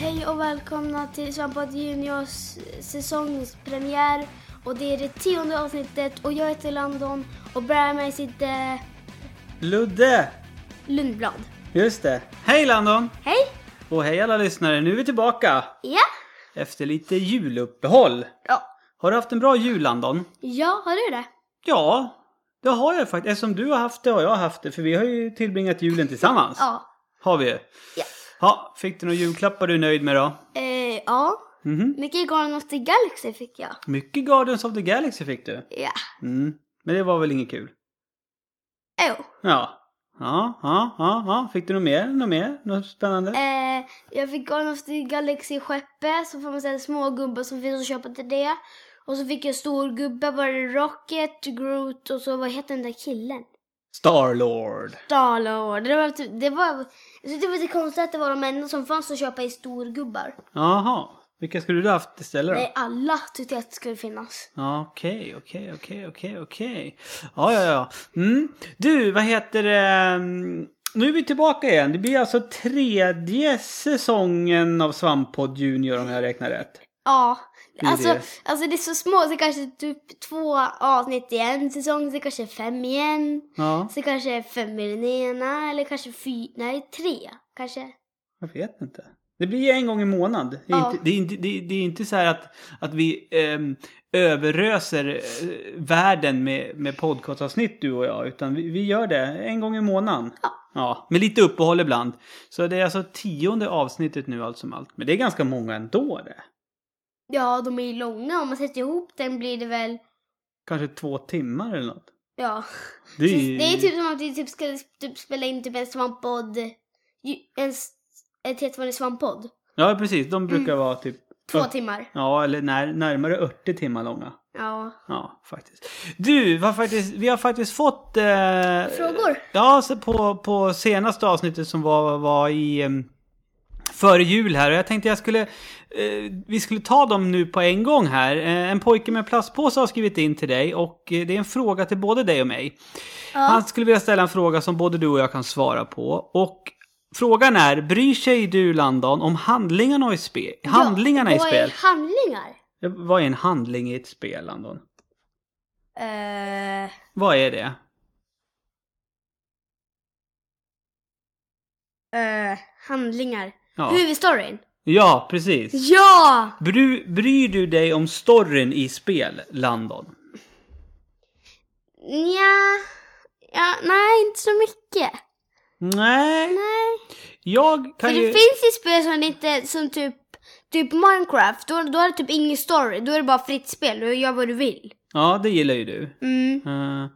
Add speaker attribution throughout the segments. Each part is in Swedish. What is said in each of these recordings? Speaker 1: Hej och välkomna till Svampad Juniors säsongspremiär. Och det är det tionde avsnittet och jag heter Landon och bredvid mig sitter
Speaker 2: Ludde!
Speaker 1: Lundblad.
Speaker 2: Just det. Hej Landon!
Speaker 1: Hej!
Speaker 2: Och hej alla lyssnare, nu är vi tillbaka!
Speaker 1: Ja!
Speaker 2: Efter lite juluppehåll.
Speaker 1: Ja.
Speaker 2: Har du haft en bra jul Landon?
Speaker 1: Ja, har du det?
Speaker 2: Ja, det har jag faktiskt. Eftersom du har haft det har jag haft det. För vi har ju tillbringat julen tillsammans.
Speaker 1: Ja.
Speaker 2: Har vi ju.
Speaker 1: Ja.
Speaker 2: Ja, fick du några julklappar du är nöjd med då?
Speaker 1: Eh, ja.
Speaker 2: Mhm.
Speaker 1: Mycket Garden of the Galaxy fick jag.
Speaker 2: Mycket Guardians of the Galaxy fick du.
Speaker 1: Ja.
Speaker 2: Mm. Men det var väl inget kul?
Speaker 1: Jo.
Speaker 2: Ja. Ja, ja, ja, ja. Fick du något mer? Något mer? Något spännande?
Speaker 1: Eh, jag fick Garden of the Galaxy-skeppet, så får man säga små gubbar som finns att köpa till det. Och så fick jag stor gubbe, var det Rocket, Groot och så vad heter den där killen?
Speaker 2: Starlord.
Speaker 1: Dalor. Det var typ, det var, jag tyckte det var lite konstigt att det var de enda som fanns att köpa i storgubbar.
Speaker 2: Jaha. Vilka skulle du ha haft istället då?
Speaker 1: Nej, alla tyckte jag att det skulle finnas.
Speaker 2: Ja, Okej, okej, okej, okej, okej. Ja, ja, ja. Mm. Du, vad heter det? Mm, Nu är vi tillbaka igen. Det blir alltså tredje säsongen av Svamppodd Junior om jag räknar rätt.
Speaker 1: Ja.
Speaker 2: Det är
Speaker 1: Alltså,
Speaker 2: det.
Speaker 1: alltså det är så små, så kanske typ två avsnitt i en säsong, så kanske fem i en.
Speaker 2: Ja,
Speaker 1: Så kanske fem i den ena, eller kanske fyra, nej tre kanske.
Speaker 2: jag vet inte. Det blir en gång i månad. Det är,
Speaker 1: Ja.
Speaker 2: inte, det är, inte, det är, det är inte så här att, att vi ehm, överöser eh, världen med, med podcastavsnitt du och jag. Utan vi, vi gör det en gång i månaden.
Speaker 1: Ja.
Speaker 2: Ja, med lite uppehåll ibland. Så det är alltså tionde avsnittet nu allt som allt. Men det är ganska många ändå det.
Speaker 1: Ja, de är ju långa. Om man sätter ihop den blir det väl,
Speaker 2: Kanske två timmar eller något.
Speaker 1: ja.
Speaker 2: Det är, ju-
Speaker 1: Det är typ som att vi typ ska typ spela in typ en svamppodd, ju- en, s- ett helt vanligt svamppodd.
Speaker 2: Ja, precis. De brukar
Speaker 1: Mm.
Speaker 2: vara typ...
Speaker 1: Två
Speaker 2: upp-
Speaker 1: timmar.
Speaker 2: Ja, eller när, närmare 80 timmar långa.
Speaker 1: Ja.
Speaker 2: Ja, faktiskt. Du, vi har faktiskt, vi har faktiskt fått... Eh,
Speaker 1: Frågor?
Speaker 2: Ja, så på, på senaste avsnittet som var, var i... Eh, före jul här och jag tänkte jag skulle... Eh, vi skulle ta dem nu på en gång här. Eh, en pojke med plastpåse har skrivit in till dig och eh, det är en fråga till både dig och mig. Han skulle vilja ställa en fråga som både du och jag kan svara på. Och frågan är, bryr sig du Landon om handlingarna i spel? Handlingarna i
Speaker 1: Vad
Speaker 2: spel?
Speaker 1: är handlingar?
Speaker 2: Vad är en handling i ett spel Landon?
Speaker 1: Eh,
Speaker 2: Vad är det?
Speaker 1: eh, handlingar.
Speaker 2: Ja.
Speaker 1: Huvudstoryn?
Speaker 2: Ja, precis.
Speaker 1: Ja!
Speaker 2: Bry, bryr du dig om storyn i spel, Landon?
Speaker 1: Nja. Ja, nej, inte så mycket.
Speaker 2: Nej,
Speaker 1: Nej.
Speaker 2: jag
Speaker 1: För
Speaker 2: kan
Speaker 1: det
Speaker 2: ju...
Speaker 1: finns ju spel som inte, som typ, typ Minecraft, då, då är det typ ingen story, då är det bara fritt spel, du gör vad du vill.
Speaker 2: Ja, det gillar ju du.
Speaker 1: Mm.
Speaker 2: Eh, eh,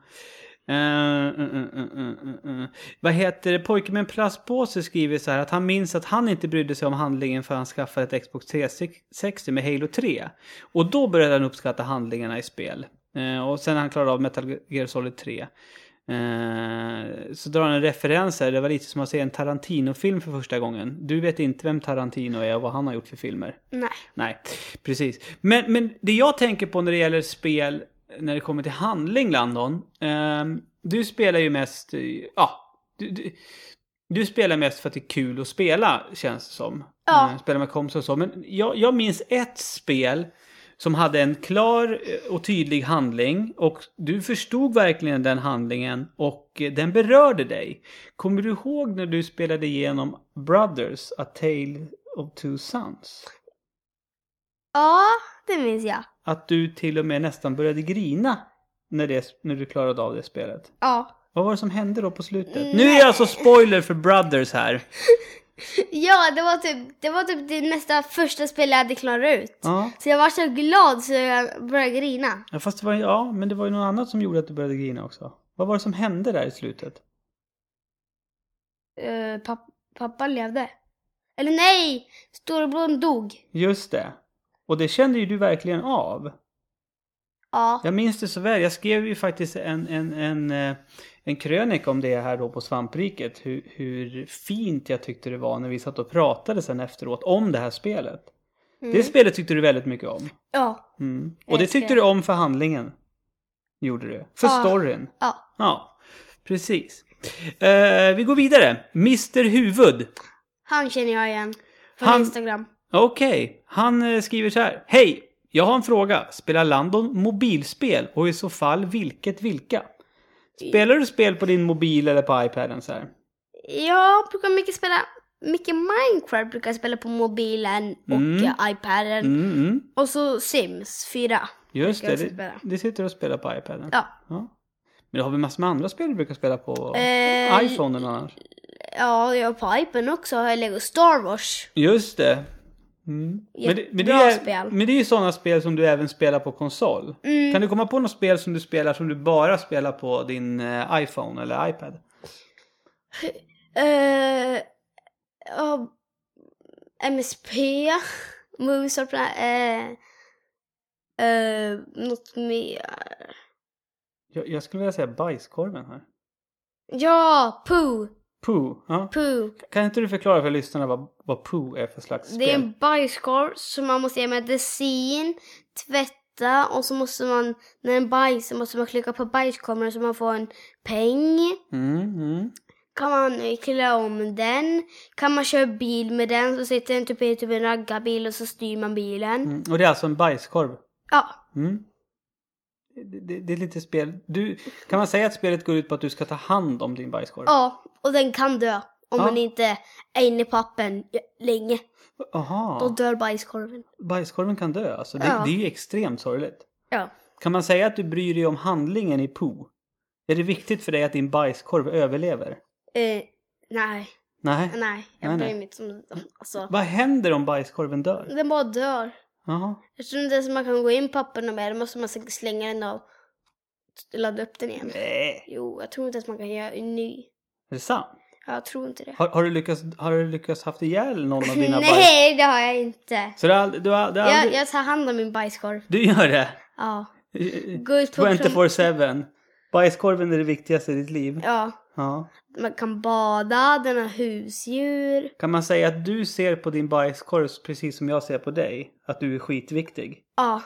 Speaker 2: eh, eh, eh, eh, eh. Vad heter det? Pojken med en plastpåse skriver så här att han minns att han inte brydde sig om handlingen förrän han skaffade ett Xbox 360 med Halo 3. Och då började han uppskatta handlingarna i spel. Eh, och sen när han klarade av Metal Gear Solid 3. Eh, så drar han en referens här. Det var lite som att se en Tarantino-film för första gången. Du vet inte vem Tarantino är och vad han har gjort för filmer.
Speaker 1: Nej.
Speaker 2: Nej, precis. Men, men det jag tänker på när det gäller spel, när det kommer till handling, Landon. ehm, du spelar ju mest, eh, ja, du, du, du spelar mest för att det är kul att spela, känns det som.
Speaker 1: Ja.
Speaker 2: Eh, Spela med kompisar och så. Men jag, jag minns ett spel som hade en klar eh, och tydlig handling och du förstod verkligen den handlingen och eh, den berörde dig. Kommer du ihåg när du spelade igenom Brothers, A Tale of Two Sons?
Speaker 1: Ja, det minns jag.
Speaker 2: att du till och med nästan började grina när, det, när du klarade av det spelet.
Speaker 1: Ja.
Speaker 2: Vad var det som hände då på slutet? Nu är det alltså spoiler för Brothers här.
Speaker 1: Ja, det var typ det, var typ det nästa första spel jag hade klarat ut.
Speaker 2: Ja.
Speaker 1: Så jag var så glad så jag började grina.
Speaker 2: Ja, fast det var, ja, men det var ju något annat som gjorde att du började grina också. Vad var det som hände där i slutet?
Speaker 1: Eh, papp, pappa levde. Eller nej! Storebror dog.
Speaker 2: Just det. Och det kände ju du verkligen av.
Speaker 1: Ja.
Speaker 2: Jag minns det så väl. Jag skrev ju faktiskt en, en, en, eh, en krönika om det här då på Svampriket. Hur, hur fint jag tyckte det var när vi satt och pratade sen efteråt om det här spelet. Det spelet tyckte du väldigt mycket om.
Speaker 1: Ja.
Speaker 2: Mm. Och det
Speaker 1: älskar
Speaker 2: tyckte du om för handlingen. Gjorde du. För
Speaker 1: Ja.
Speaker 2: storyn.
Speaker 1: Ja.
Speaker 2: Ja, precis. Eh, vi går vidare. Mr Huvud.
Speaker 1: Han känner jag igen. Från
Speaker 2: Han-
Speaker 1: Instagram.
Speaker 2: Okej, han eh, skriver så här. Hej! Jag har en fråga. Spelar Landon mobilspel och i så fall vilket vilka? Spelar du spel på din mobil eller på iPaden så här?
Speaker 1: Jag brukar mycket spela, mycket Minecraft brukar jag spela på mobilen och
Speaker 2: Mm.
Speaker 1: eh, iPaden.
Speaker 2: Mm, mm.
Speaker 1: Och så Sims 4.
Speaker 2: Just
Speaker 1: Brukar
Speaker 2: det,
Speaker 1: jag
Speaker 2: det,
Speaker 1: spela.
Speaker 2: det sitter och spelar på iPaden.
Speaker 1: Ja.
Speaker 2: Men du har väl massor med andra spel du brukar spela på
Speaker 1: Eh,
Speaker 2: iPhone eller annars?
Speaker 1: Ja, jag har på iPaden också har jag Lego Star Wars.
Speaker 2: Just det. Mm. Men, det, men, det
Speaker 1: Jättebra
Speaker 2: är,
Speaker 1: spel.
Speaker 2: men det är ju sådana spel som du även spelar på konsol.
Speaker 1: Mm.
Speaker 2: Kan du komma på något spel som du spelar som du bara spelar på din eh, iPhone eller iPad?
Speaker 1: Eh, ja, MSP. Movies are plan- eh, eh, Något mer.
Speaker 2: Jag, jag skulle vilja säga bajskorven här.
Speaker 1: Ja, Pooh.
Speaker 2: Pooh. Ja.
Speaker 1: Pooh.
Speaker 2: Kan inte du förklara för lyssnarna vad, vad Pooh är för slags
Speaker 1: Det är
Speaker 2: spel?
Speaker 1: en bajskorv som man måste ge medicin, tvätta och så måste man, när den bajsar måste man klicka på bajskorven så man får en peng.
Speaker 2: Mm, mm.
Speaker 1: kan man eh, klä om den. Kan man köra bil med den så sitter den typ i typ en raggarbil och så styr man bilen.
Speaker 2: Mm. Och det är alltså en bajskorv?
Speaker 1: Ja,
Speaker 2: Mm. Det, det, det är lite spel. Du, kan man säga att spelet går ut på att du ska ta hand om din bajskorv?
Speaker 1: ja, och den kan dö. Om
Speaker 2: Ja.
Speaker 1: man inte är inne i pappen länge. Då
Speaker 2: Aha,
Speaker 1: dör bajskorven.
Speaker 2: bajskorven kan dö alltså. Det,
Speaker 1: Ja.
Speaker 2: det är ju extremt sorgligt.
Speaker 1: Ja.
Speaker 2: Kan man säga att du bryr dig om handlingen i Pooh? Är det viktigt för dig att din bajskorv överlever?
Speaker 1: Eh, nej,
Speaker 2: Nej.
Speaker 1: nej.
Speaker 2: Nej,
Speaker 1: Jag
Speaker 2: nej.
Speaker 1: bryr mig inte som... Alltså,
Speaker 2: Vad händer om bajskorven dör?
Speaker 1: den bara dör.
Speaker 2: Jaha.
Speaker 1: Eftersom det är så man kan gå in i pappen och med, då måste man slänga den och ladda upp den igen.
Speaker 2: Nej.
Speaker 1: Jo, jag tror inte att man kan göra en ny.
Speaker 2: Är det sant?
Speaker 1: Jag tror inte det.
Speaker 2: Har, har, du lyckats, har du lyckats haft ihjäl någon av dina bajs...
Speaker 1: Nej, det har jag inte.
Speaker 2: Så du har aldrig... Du, har, du, har
Speaker 1: Jag,
Speaker 2: aldrig...
Speaker 1: jag tar hand om min bajskorv.
Speaker 2: du gör det?
Speaker 1: Ja.
Speaker 2: Eh,
Speaker 1: Gå ut på prom-
Speaker 2: 24-7. Bajskorven är det viktigaste i ditt liv.
Speaker 1: Ja.
Speaker 2: Ja.
Speaker 1: Man kan bada, den har husdjur.
Speaker 2: Kan man säga att du ser på din bajskorv precis som jag ser på dig? Att du är skitviktig?
Speaker 1: Ja.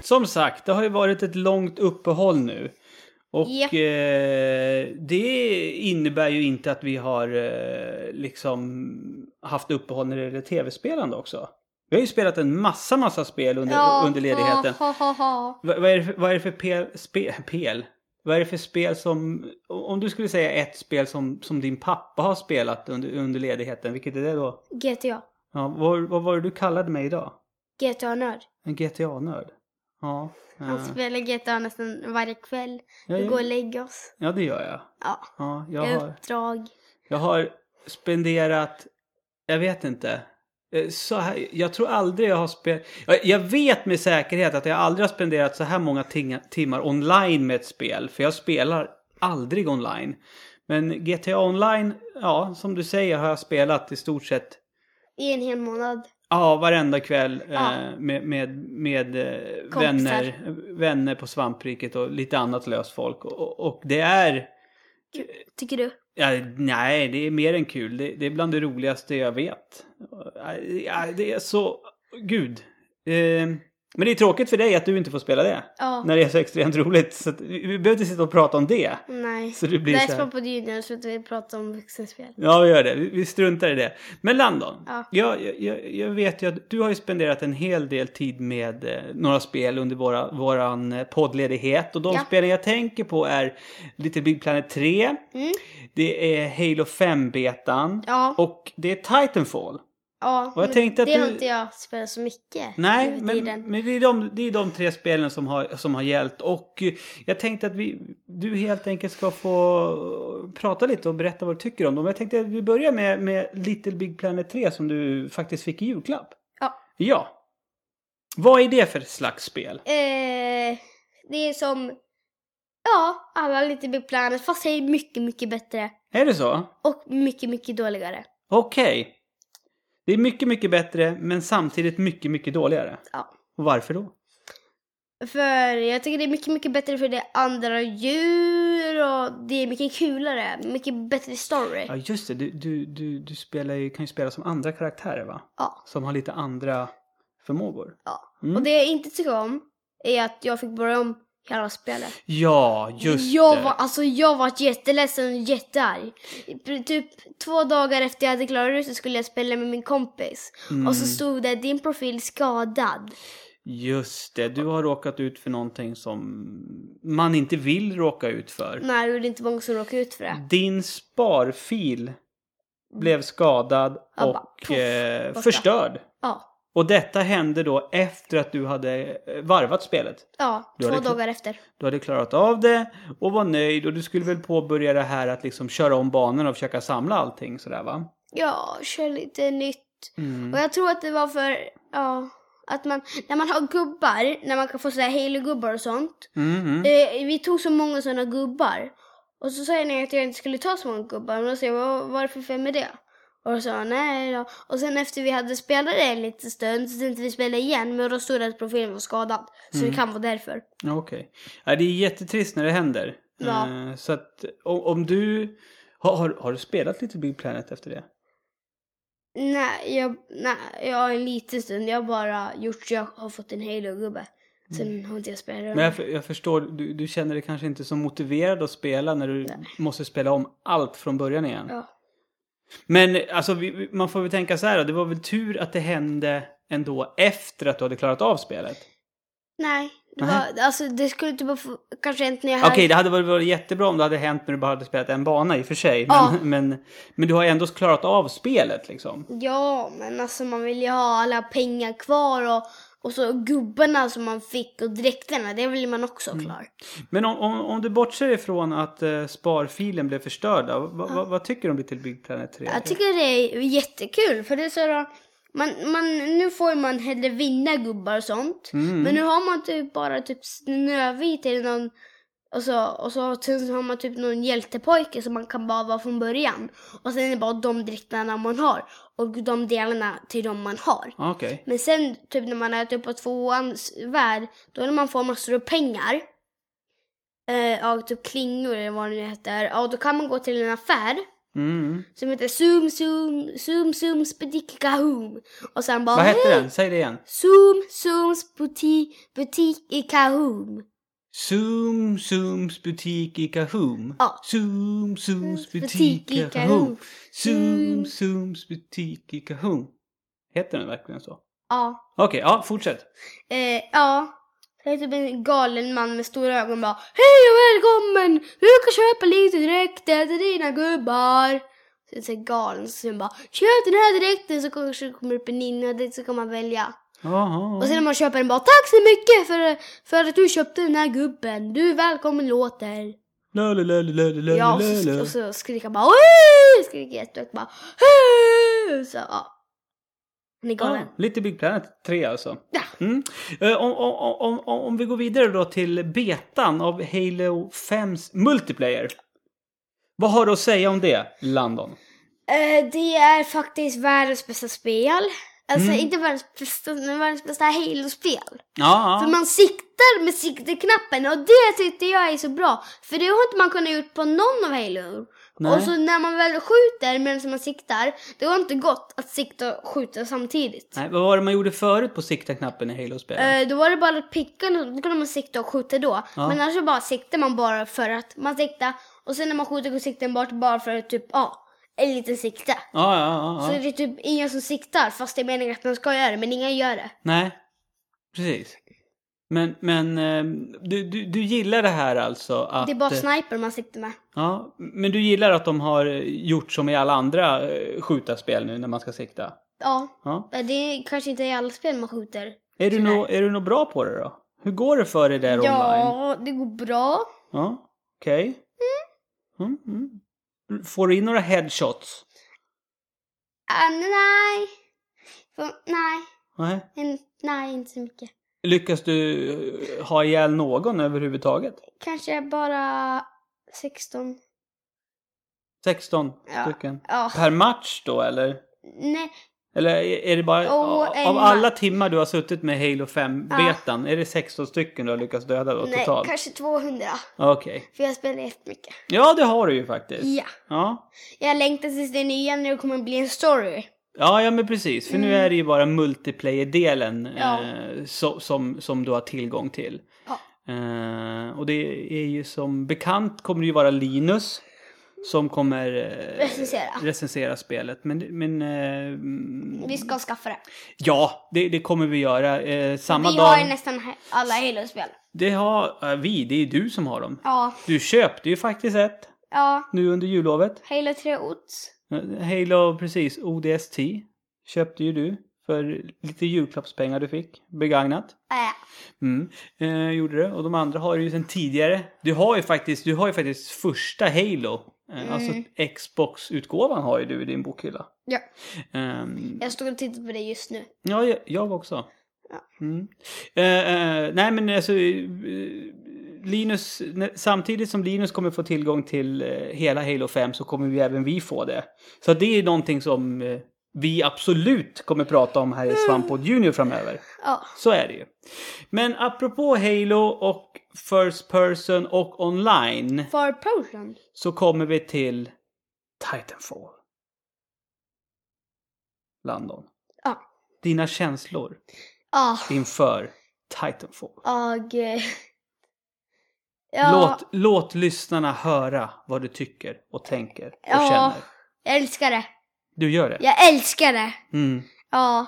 Speaker 2: Som sagt, det har ju varit ett långt uppehåll nu. Och
Speaker 1: Japp.
Speaker 2: eh, det innebär ju inte att vi har eh, liksom haft uppehåll när det gäller tv-spelande också. Vi har ju spelat en massa, massa spel under,
Speaker 1: ja.
Speaker 2: under ledigheten.
Speaker 1: Ha, ha, ha.
Speaker 2: Vad, vad är det för, vad är det för pel, spe, pel? Vad är det för spel som, om du skulle säga ett spel som, som din pappa har spelat under, under ledigheten, vilket är det då?
Speaker 1: GTA.
Speaker 2: Ja, vad, vad var det du kallade mig idag?
Speaker 1: GTA-nörd.
Speaker 2: En GTA-nörd? Ja. eh,
Speaker 1: Han spelar GTA nästan varje kväll. Vi
Speaker 2: ja,
Speaker 1: Alltså, går och
Speaker 2: ja,
Speaker 1: lägger oss.
Speaker 2: ja, det gör jag.
Speaker 1: Ja. Eh.
Speaker 2: Ja, jag
Speaker 1: Jag
Speaker 2: har,
Speaker 1: har uppdrag.
Speaker 2: jag har spenderat, jag vet inte. eh, Så här, jag tror aldrig jag har spelat... Jag vet med säkerhet att jag aldrig har spenderat så här många ting, timmar online med ett spel. För jag spelar aldrig online. Men GTA online, ja som du säger har jag spelat i stort sett
Speaker 1: I en hel månad.
Speaker 2: Ja, varenda kväll
Speaker 1: Ja.
Speaker 2: eh, med, med, med eh,
Speaker 1: Kompisar.
Speaker 2: vänner, vänner på svampriket och lite annat löst folk. Och, och- och det är...
Speaker 1: Tycker du?
Speaker 2: Ja, nej, det är mer än kul. Det, det är bland det roligaste jag vet. Ja, det är så... Gud. Eh, men det är tråkigt för dig att du inte får spela det.
Speaker 1: Ja.
Speaker 2: När det är så extremt roligt. Så att, vi vi behöver inte sitta och prata om det.
Speaker 1: Nej.
Speaker 2: Så det blir så
Speaker 1: Läs
Speaker 2: här.
Speaker 1: på på Junior så att vi pratar om vuxenspel.
Speaker 2: Ja, vi gör det. Vi, vi struntar i det. Men Landon,
Speaker 1: Ja.
Speaker 2: jag, jag- jag, jag vet ju att du har ju spenderat en hel del tid med eh, några spel under våra, våran eh, poddledighet. Och de
Speaker 1: Ja.
Speaker 2: spelen jag tänker på är Little Big Planet 3,
Speaker 1: Mm.
Speaker 2: det är Halo 5-betan
Speaker 1: Ja.
Speaker 2: och det är Titanfall.
Speaker 1: ja.
Speaker 2: och jag
Speaker 1: men
Speaker 2: tänkte att
Speaker 1: det har
Speaker 2: du-
Speaker 1: inte jag spelat så mycket.
Speaker 2: Nej,
Speaker 1: nu för
Speaker 2: men,
Speaker 1: tiden.
Speaker 2: men det, är de, det är de tre spelen som har, som har gällt. Och eh, jag tänkte att vi, du helt enkelt ska få eh, prata lite och berätta vad du tycker om dem. Jag tänkte att vi börjar med, med Little Big Planet 3 som du faktiskt fick i julklapp.
Speaker 1: Ja.
Speaker 2: Ja. Vad är det för slags spel?
Speaker 1: Eh, det är som, ja, alla Little Big Planet fast det är mycket, mycket bättre.
Speaker 2: Är det så?
Speaker 1: Och mycket, mycket dåligare.
Speaker 2: Okej. Det är mycket, mycket bättre men samtidigt mycket, mycket dåligare.
Speaker 1: Ja.
Speaker 2: Och varför då?
Speaker 1: För jag tycker det är mycket, mycket bättre för det är andra djur och det är mycket kulare. Mycket bättre story.
Speaker 2: Ja just det, du, du, du, du spelar ju, kan ju spela som andra karaktärer va?
Speaker 1: Ja.
Speaker 2: Som har lite andra förmågor.
Speaker 1: Ja.
Speaker 2: Mm.
Speaker 1: Och det jag inte tycker om är att jag fick börja om hela spelet.
Speaker 2: Ja, just
Speaker 1: jag
Speaker 2: det.
Speaker 1: Var, alltså jag var jätteledsen och jättearg. I- Typ två dagar efter jag hade klarat ut så skulle jag spela med min kompis.
Speaker 2: Mm.
Speaker 1: Och alltså, så stod det din profil skadad.
Speaker 2: Just det, du har råkat ut för någonting som man inte vill råka ut för.
Speaker 1: Nej, det är inte många som råkade ut för det.
Speaker 2: Din sparfil blev skadad
Speaker 1: Mm. Ja, bara
Speaker 2: och
Speaker 1: poff,
Speaker 2: eh,
Speaker 1: borta.
Speaker 2: förstörd.
Speaker 1: Ja,
Speaker 2: Och detta hände då efter att du hade eh, varvat spelet.
Speaker 1: ja
Speaker 2: Du
Speaker 1: två
Speaker 2: hade kl-
Speaker 1: dagar efter.
Speaker 2: Du hade klarat av det och var nöjd och du skulle väl påbörja det här att liksom köra om banorna och försöka samla allting sådär va?
Speaker 1: Ja, kör lite nytt.
Speaker 2: Mm.
Speaker 1: Och jag tror att det var för, ja, att man, när man har gubbar, när man kan få sådär halo-gubbar och sånt.
Speaker 2: Mm, mm.
Speaker 1: Eh, vi tog så många sådana gubbar. Och så sa jag nej att jag inte skulle ta så många gubbar. Men då sa jag, vad vad är det för fel med det? Och då sa jag, nej då. Och sen efter vi hade spelat det en liten stund så tänkte vi spela igen. Men då stod det att profilen var skadad. Så
Speaker 2: Mm.
Speaker 1: det kan vara därför.
Speaker 2: Ja, Okej. Ja, det är jättetrist när det händer.
Speaker 1: Ja.
Speaker 2: Eh, Så att om, om du... Har, har, har du spelat lite Big Planet efter det?
Speaker 1: Nej, jag, nej, jag har en liten stund. Jag har bara gjort så jag har fått en halo-gubbe. Sen har inte jag spelat det.
Speaker 2: Mm. Men jag, för- jag förstår, du, du känner dig kanske inte så motiverad att spela när du måste spela om allt från början igen.
Speaker 1: Ja.
Speaker 2: Men alltså, vi- vi, man får väl tänka så här då, det var väl tur att det hände ändå efter att du hade klarat av spelet?
Speaker 1: Nej, det,
Speaker 2: Nej.
Speaker 1: var, alltså, det skulle typ ha få- kanske hänt när jag
Speaker 2: Okej,
Speaker 1: hade...
Speaker 2: det hade varit- varit jättebra om det hade hänt när du bara hade spelat en bana i och för sig. Men,
Speaker 1: Ja.
Speaker 2: men, men du har ändå klarat av spelet liksom.
Speaker 1: Ja, men alltså man vill ju ha alla pengar kvar och, och så gubbarna som man fick och dräkterna, det vill man också
Speaker 2: Mm.
Speaker 1: ha klar.
Speaker 2: Men om, om, om du bortser ifrån att eh, sparfilen blev förstörd, då, vad- vad- vad tycker du om Little Big Planet 3?
Speaker 1: Jag tycker det är jättekul för det är så då, man, man, nu får ju man hellre vinna gubbar och sånt.
Speaker 2: Mm.
Speaker 1: Men nu har man typ bara typ Snövit eller någon och så, och så sen så har man typ någon hjältepojke som man kan bara vara från början. Och sen är det bara de dräkterna man har och de delarna till de man har.
Speaker 2: Ja, Okej.
Speaker 1: Men sen typ när man är typ på tvåans värld, då när man får massor av pengar, eh, av typ klingor eller vad det nu heter, ja då kan man gå till en affär
Speaker 2: Mm.
Speaker 1: som heter Zoom Zoom Zoom Zooms Butika Home. Och sen bara
Speaker 2: Vad hette den? Säg det igen.
Speaker 1: Zoom Zooms buti, Butik i Kahoom.
Speaker 2: Zoom, Zooms butik i Kahoom.
Speaker 1: Ja.
Speaker 2: Zoom, Zooms butik
Speaker 1: Butik
Speaker 2: i
Speaker 1: i
Speaker 2: Kahoom.
Speaker 1: Kahoom. Zoom.
Speaker 2: Zoom, Zooms butik i Kahoom. Heter den verkligen så?
Speaker 1: Ja.
Speaker 2: Okej, ja, fortsätt.
Speaker 1: Eh, ja. Det är typ en galen man med stora ögon bara Hej och välkommen! Du kan köpa lite dräkter till dina gubbar. Så det är galen så sen bara Köp den här dräkten så kanske det kommer upp en inne så kan man välja.
Speaker 2: Jaha.
Speaker 1: Och sen när man köper den bara Tack så mycket för, för att du köpte den här gubben. Du är välkommen låter.
Speaker 2: Lalalalalalala.
Speaker 1: Ja, och så, och så skriker han bara Hej! Skriker jättehögt bara Hej! Så ja. Han är galen.
Speaker 2: Ja, lite Big Planet 3 alltså.
Speaker 1: Ja.
Speaker 2: Mm. Eh, Om, om, om, om, om vi går vidare då till betan av Halo 5s multiplayer. Vad har du att säga om det, Landon?
Speaker 1: Eh, det är faktiskt världens bästa spel. Alltså
Speaker 2: Mm.
Speaker 1: inte världens bästa, men världens bästa Halo-spel.
Speaker 2: Ja,
Speaker 1: För man siktar med sikteknappen och det tyckte jag är så bra. För det har inte man kunnat gjort på någon av Halo.
Speaker 2: Nej.
Speaker 1: Och så när man väl skjuter medan man siktar, det har inte gått att sikta och skjuta samtidigt.
Speaker 2: Nej, vad var det man gjorde förut på sikta-knappen i Halo-spelen?
Speaker 1: Eh, då var det bara att picka, då kunde man sikta och skjuta då.
Speaker 2: Ja.
Speaker 1: Men annars så bara siktar man bara för att man siktar. Och sen när man skjuter går sikten bort bara för att typ, ja, en liten sikte.
Speaker 2: Ja, ja, ja.
Speaker 1: Så
Speaker 2: ja.
Speaker 1: det är typ ingen som siktar fast det är meningen att man ska göra det, men ingen gör det.
Speaker 2: Nej, precis. Men, men eh, du, du, du gillar det här alltså? Att,
Speaker 1: det är bara
Speaker 2: eh,
Speaker 1: sniper man siktar med.
Speaker 2: Ja, men du gillar att de har eh, gjort som i alla andra eh, skjutarspel nu när man ska sikta?
Speaker 1: Ja,
Speaker 2: Ja.
Speaker 1: det är kanske inte i alla spel man skjuter.
Speaker 2: Är du nå- är du nog bra på det då? Hur går det för dig där online?
Speaker 1: Ja, det går bra.
Speaker 2: Ja. Okej. Mm, mm. Får du in några headshots?
Speaker 1: Äh, nej. För- nej.
Speaker 2: Nej.
Speaker 1: En, nej, inte så mycket.
Speaker 2: Lyckas du eh, ha ihjäl någon överhuvudtaget?
Speaker 1: Kanske bara 16.
Speaker 2: 16
Speaker 1: Ja.
Speaker 2: stycken?
Speaker 1: Ja,
Speaker 2: Per match då eller?
Speaker 1: nej.
Speaker 2: Eller är det bara...
Speaker 1: Och
Speaker 2: av
Speaker 1: Emma.
Speaker 2: alla timmar du har suttit med Halo 5-betan, är det 16 stycken du har lyckats döda då
Speaker 1: Nej,
Speaker 2: totalt?
Speaker 1: kanske 200.
Speaker 2: Okej.
Speaker 1: För jag spelar jättemycket.
Speaker 2: Ja, det har du ju faktiskt.
Speaker 1: Ja.
Speaker 2: Ja,
Speaker 1: Jag längtar tills det nya när det kommer bli en story.
Speaker 2: ja, ja men precis. För nu är det ju bara multiplayer-delen
Speaker 1: Mm. Ja.
Speaker 2: eh, so, som, som du har tillgång till.
Speaker 1: Ja.
Speaker 2: Eh, och det är ju som bekant kommer det ju vara Linus som kommer eh,
Speaker 1: Recensera.
Speaker 2: recensera spelet. Men, men eh, mm,
Speaker 1: Vi ska skaffa det.
Speaker 2: ja, det, det kommer vi göra. Eh, samma
Speaker 1: vi
Speaker 2: dag...
Speaker 1: har ju nästan he- alla Halo-spel.
Speaker 2: Det har ja, vi, det är ju du som har dem.
Speaker 1: Ja.
Speaker 2: Du köpte ju faktiskt ett
Speaker 1: Ja.
Speaker 2: nu under jullovet.
Speaker 1: Halo 3 Ots.
Speaker 2: Eh, Halo, precis, ODST köpte ju du för lite julklappspengar du fick, begagnat.
Speaker 1: Äh.
Speaker 2: Mm. Eh, gjorde det. Och de andra har ju sen tidigare. Du har ju faktiskt, du har ju faktiskt första Halo. Eh,
Speaker 1: Mm.
Speaker 2: Alltså Xbox-utgåvan har ju du i din bokhylla.
Speaker 1: Ja.
Speaker 2: Ehm,
Speaker 1: Jag stod och tittade på det just nu.
Speaker 2: Ja, jag, jag också.
Speaker 1: Ja.
Speaker 2: Mm. Eh, eh, nej, men alltså... eh, Linus, när- samtidigt som Linus kommer få tillgång till eh, hela Halo 5 så kommer vi även vi få det. Så det är någonting som eh, vi absolut kommer prata om här i Svampod Junior framöver.
Speaker 1: Ja.
Speaker 2: Så är det ju. Men apropå Halo och First Person och online
Speaker 1: Far Potion.
Speaker 2: så kommer vi till Titanfall. Landon.
Speaker 1: Ja.
Speaker 2: Dina känslor
Speaker 1: Ja.
Speaker 2: inför Titanfall.
Speaker 1: Jag... eh,
Speaker 2: Låt, låt lyssnarna höra vad du tycker och tänker och
Speaker 1: Ja.
Speaker 2: känner.
Speaker 1: Jag älskar det.
Speaker 2: Du gör det?
Speaker 1: Jag älskar det.
Speaker 2: Mm.
Speaker 1: Ja.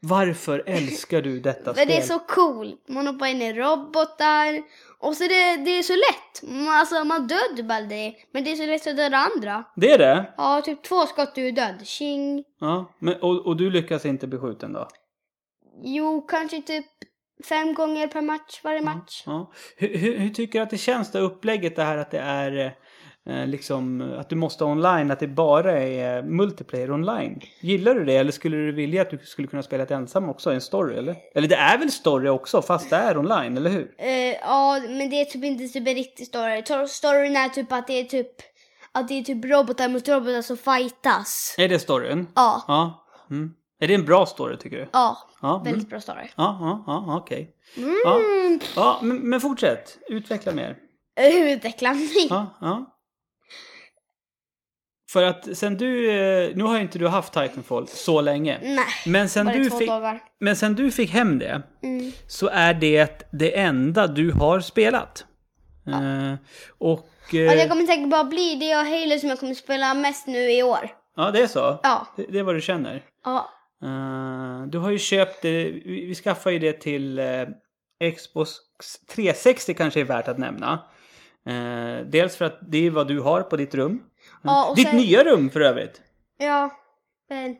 Speaker 2: Varför älskar du detta
Speaker 1: För
Speaker 2: spel?
Speaker 1: det är så coolt. Man hoppar in i robotar. Och så det, det är så lätt. Man- Alltså man dödar bara dig. Men det är så lätt att döda andra.
Speaker 2: Det är det?
Speaker 1: Ja, typ två skott du är död. Tjing.
Speaker 2: Ja. Men, och, och du lyckas inte bli skjuten då?
Speaker 1: Jo, kanske typ fem gånger per match, varje
Speaker 2: Mm.
Speaker 1: match.
Speaker 2: Ja. Hur, hur, hur tycker du att det känns det upplägget det här att det är eh, liksom att du måste online, att det bara är eh, multiplayer online? Gillar du det eller skulle du vilja att du skulle kunna spela ett ensam också, en story eller? Eller det är väl story också fast det är online, eller hur?
Speaker 1: Eh, ja, men det är typ inte typ en riktig story. Tor- Storyn är typ att det är typ att det är typ robotar mot robotar som fightas.
Speaker 2: Är det storyn?
Speaker 1: Ja,
Speaker 2: Ja. Mm. Är det en bra story tycker du?
Speaker 1: ja.
Speaker 2: Ja, mm.
Speaker 1: Väldigt bra story. Mm.
Speaker 2: ja, ja, ja okej. Ja, ja men, men fortsätt. Utveckla mer.
Speaker 1: Eh, Utveckla mig.
Speaker 2: Ja, ja. För att sen du, eh, nu har ju inte du haft Titanfall så länge.
Speaker 1: Nej,
Speaker 2: Men sen,
Speaker 1: bara
Speaker 2: du
Speaker 1: två
Speaker 2: fick,
Speaker 1: dagar.
Speaker 2: men sen du fick hem det
Speaker 1: Mm.
Speaker 2: så är det det enda du har spelat. Eh, och... Eh,
Speaker 1: Och det kommer säkert bara bli det och Halo som jag kommer spela mest nu i år.
Speaker 2: Ja, det är så?
Speaker 1: Ja.
Speaker 2: Det, det är vad du känner?
Speaker 1: Ja.
Speaker 2: Eh, du har ju köpt det, vi, vi skaffar ju det till eh, Xbox 360 kanske är värt att nämna. Eh, dels för att det är vad du har på ditt rum.
Speaker 1: Ja, och
Speaker 2: ditt
Speaker 1: sen-
Speaker 2: nya rum för övrigt!
Speaker 1: Ja. Men,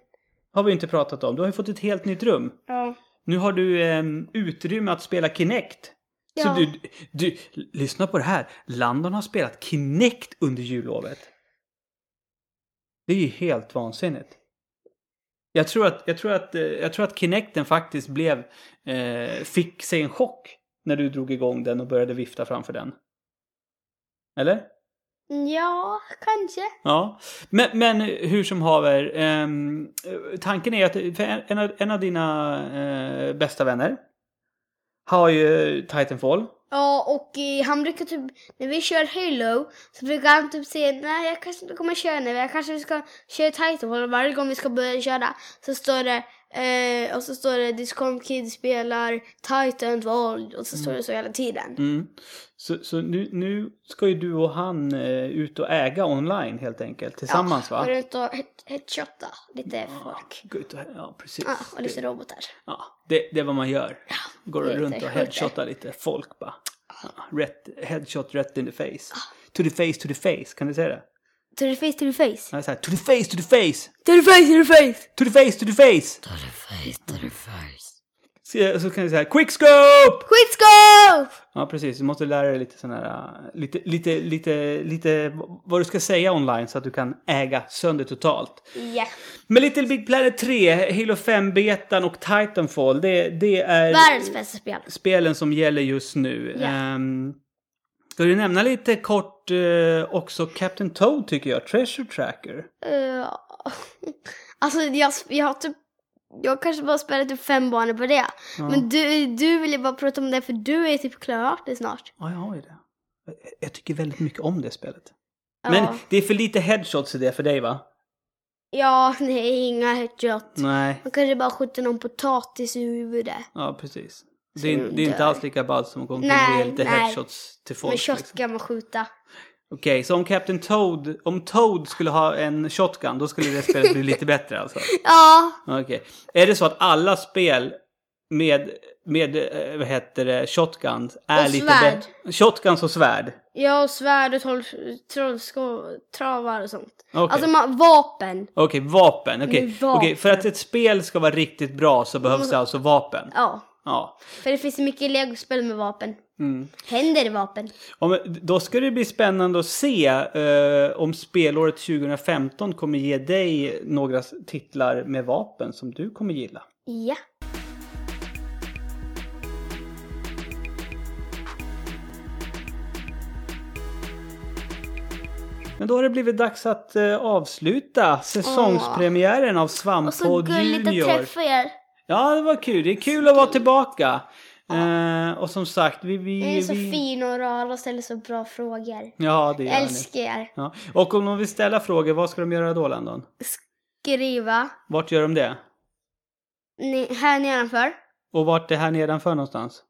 Speaker 2: Har vi inte pratat om. Du har ju fått ett helt nytt rum.
Speaker 1: ja.
Speaker 2: Nu har du ehm, utrymme att spela Kinect. Så
Speaker 1: Ja.
Speaker 2: du, du, lyssna på det här. Landon har spelat Kinect under jullovet. Det är ju helt vansinnigt. Jag tror att, jag tror att, eh, jag tror att Kinecten faktiskt blev, eh, fick sig en chock när du drog igång den och började vifta framför den. Eller?
Speaker 1: Mm, Ja, kanske.
Speaker 2: Ja, men, men hur som haver. ehm, tanken är att för en- en, av- en av dina eh, bästa vänner har ju Titanfall.
Speaker 1: Ja, och eh, han brukar typ, när vi kör Halo, så brukar han typ säga nej jag kanske inte kommer köra nu, jag kanske ska köra Titanfall och varje gång vi ska börja köra så står det, eh, och så står det Discom Kid spelar Titanfall och så står det så hela tiden.
Speaker 2: Mm. Så, så nu, nu ska ju du och han eh, ut och äga online helt enkelt tillsammans
Speaker 1: Går
Speaker 2: va?
Speaker 1: runt och het- headshotta lite folk.
Speaker 2: Gå ut och, ja, precis.
Speaker 1: Ja, och lite robotar.
Speaker 2: Ja, det, det är vad man gör. Går
Speaker 1: det är
Speaker 2: runt
Speaker 1: lite
Speaker 2: och
Speaker 1: skit.
Speaker 2: headshotar lite folk bara. Rätt, headshot rätt in the face. To the face, to the face. Kan du säga det?
Speaker 1: To the face, to the face.
Speaker 2: Ja, så här, to the face, to the face!
Speaker 1: To the face, to the face!
Speaker 2: To the face, to the face!
Speaker 3: to the face, to the face.
Speaker 2: Så, så kan du säga quickscope!
Speaker 1: Skitscope!
Speaker 2: Ja precis, du måste lära dig lite sån här, äh, lite, lite, lite, lite vad du ska säga online så att du kan äga sönder totalt.
Speaker 1: Ja.
Speaker 2: Men Little Big Planet 3, Halo 5-betan och Titanfall, det, det är
Speaker 1: Världens bästa spel.
Speaker 2: spelen som gäller just nu.
Speaker 1: Ja.
Speaker 2: Ehm, Ska du nämna lite kort eh, också Captain Toad tycker jag, Treasure Tracker.
Speaker 1: Eh, alltså jag, jag har typ, jag kanske bara spelat typ fem banor på det.
Speaker 2: Ja.
Speaker 1: Men du, du ville bara prata om det för du är typ klart det snart.
Speaker 2: Ja, jag har ju det. Jag- Jag tycker väldigt mycket om det spelet.
Speaker 1: Ja.
Speaker 2: Men det är för lite headshots i det för dig va?
Speaker 1: Ja, nej, inga headshot.
Speaker 2: Nej,
Speaker 1: Man kanske bara skjuter någon potatis i huvudet.
Speaker 2: ja precis.
Speaker 1: Så
Speaker 2: Det är, det är
Speaker 1: dör.
Speaker 2: inte alls lika ballt som att gå omkring och
Speaker 1: Nej,
Speaker 2: ge lite
Speaker 1: nej.
Speaker 2: headshots till folk.
Speaker 1: Med
Speaker 2: liksom.
Speaker 1: shotgun man skjuta.
Speaker 2: Okej, så om Captain Toad, om Toad skulle ha en shotgun, då skulle det spelet bli lite bättre alltså?
Speaker 1: Ja,
Speaker 2: Okej. Är det så att alla spel med, med eh, vad heter det, shotguns är
Speaker 1: Och
Speaker 2: lite
Speaker 1: svärd.
Speaker 2: bättre? Shotguns och svärd?
Speaker 1: jag och svärd och troll- trollsko- travar och sånt.
Speaker 2: Okej.
Speaker 1: Alltså man, vapen.
Speaker 2: Okej, vapen. Okej,
Speaker 1: Men vapen.
Speaker 2: Okej, för att ett spel ska vara riktigt bra så behövs det alltså vapen.
Speaker 1: Ja,
Speaker 2: Ja.
Speaker 1: för det finns mycket legospel med vapen.
Speaker 2: Mm.
Speaker 1: Händer det vapen?
Speaker 2: Ja, men Då ska det bli spännande att se eh, om spelåret 2015 kommer ge dig några s- titlar med vapen som du kommer gilla.
Speaker 1: Ja.
Speaker 2: Men då har det blivit dags att eh, avsluta säsongspremiären av
Speaker 1: Och så
Speaker 2: Svamppodd
Speaker 1: gulligt att
Speaker 2: Junior.
Speaker 1: träffa er.
Speaker 2: Ja, det var kul. Det är kul att vara tillbaka. Eh, och som sagt, vi...
Speaker 1: Ni
Speaker 2: vi,
Speaker 1: är så
Speaker 2: vi...
Speaker 1: fina och rara och ställer så bra frågor.
Speaker 2: Ja, det
Speaker 1: Jag
Speaker 2: gör ni.
Speaker 1: älskar er.
Speaker 2: Ja. Och om de vill ställa frågor, vad ska de göra då, Landon?
Speaker 1: Skriva.
Speaker 2: Vart gör de det?
Speaker 1: Ni, här nedanför.
Speaker 2: Och vart det här nedanför någonstans?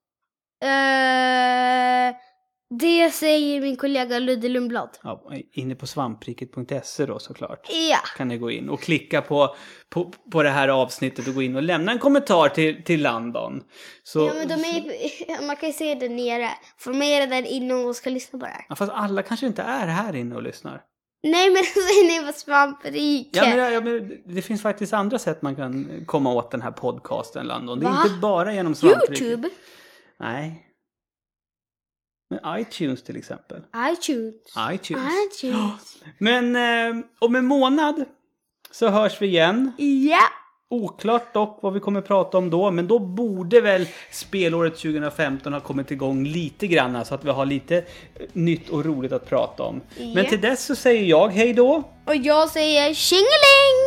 Speaker 1: Eh, det säger min kollega Ludde Lundblad.
Speaker 2: Ja, inne på svampriket.se E då såklart.
Speaker 1: Ja.
Speaker 2: Kan ni gå in och klicka på, på, på det här avsnittet och gå in och lämna en kommentar till, till Landon. Så,
Speaker 1: ja men de är, man kan ju se det nere. För mig är det där inne och ska lyssna på det här.
Speaker 2: Ja, fast alla kanske inte är här inne och lyssnar.
Speaker 1: Nej men så är ni på svampriket.
Speaker 2: Ja, men, ja, men, det finns faktiskt andra sätt man kan komma åt den här podcasten, Landon. Det är
Speaker 1: Va?
Speaker 2: inte bara genom svampriket.
Speaker 1: Youtube.
Speaker 2: Nej. Men iTunes till exempel.
Speaker 1: iTunes.
Speaker 2: iTunes.
Speaker 1: iTunes.
Speaker 2: Men eh, om en månad så hörs vi igen.
Speaker 1: Ja.
Speaker 2: Oklart dock vad vi kommer prata om då, men då borde väl spelåret 2015 ha kommit igång lite grann så att vi har lite eh, nytt och roligt att prata om. Men
Speaker 1: Ja.
Speaker 2: till dess så säger jag hej då.
Speaker 1: Och jag säger tjingeling!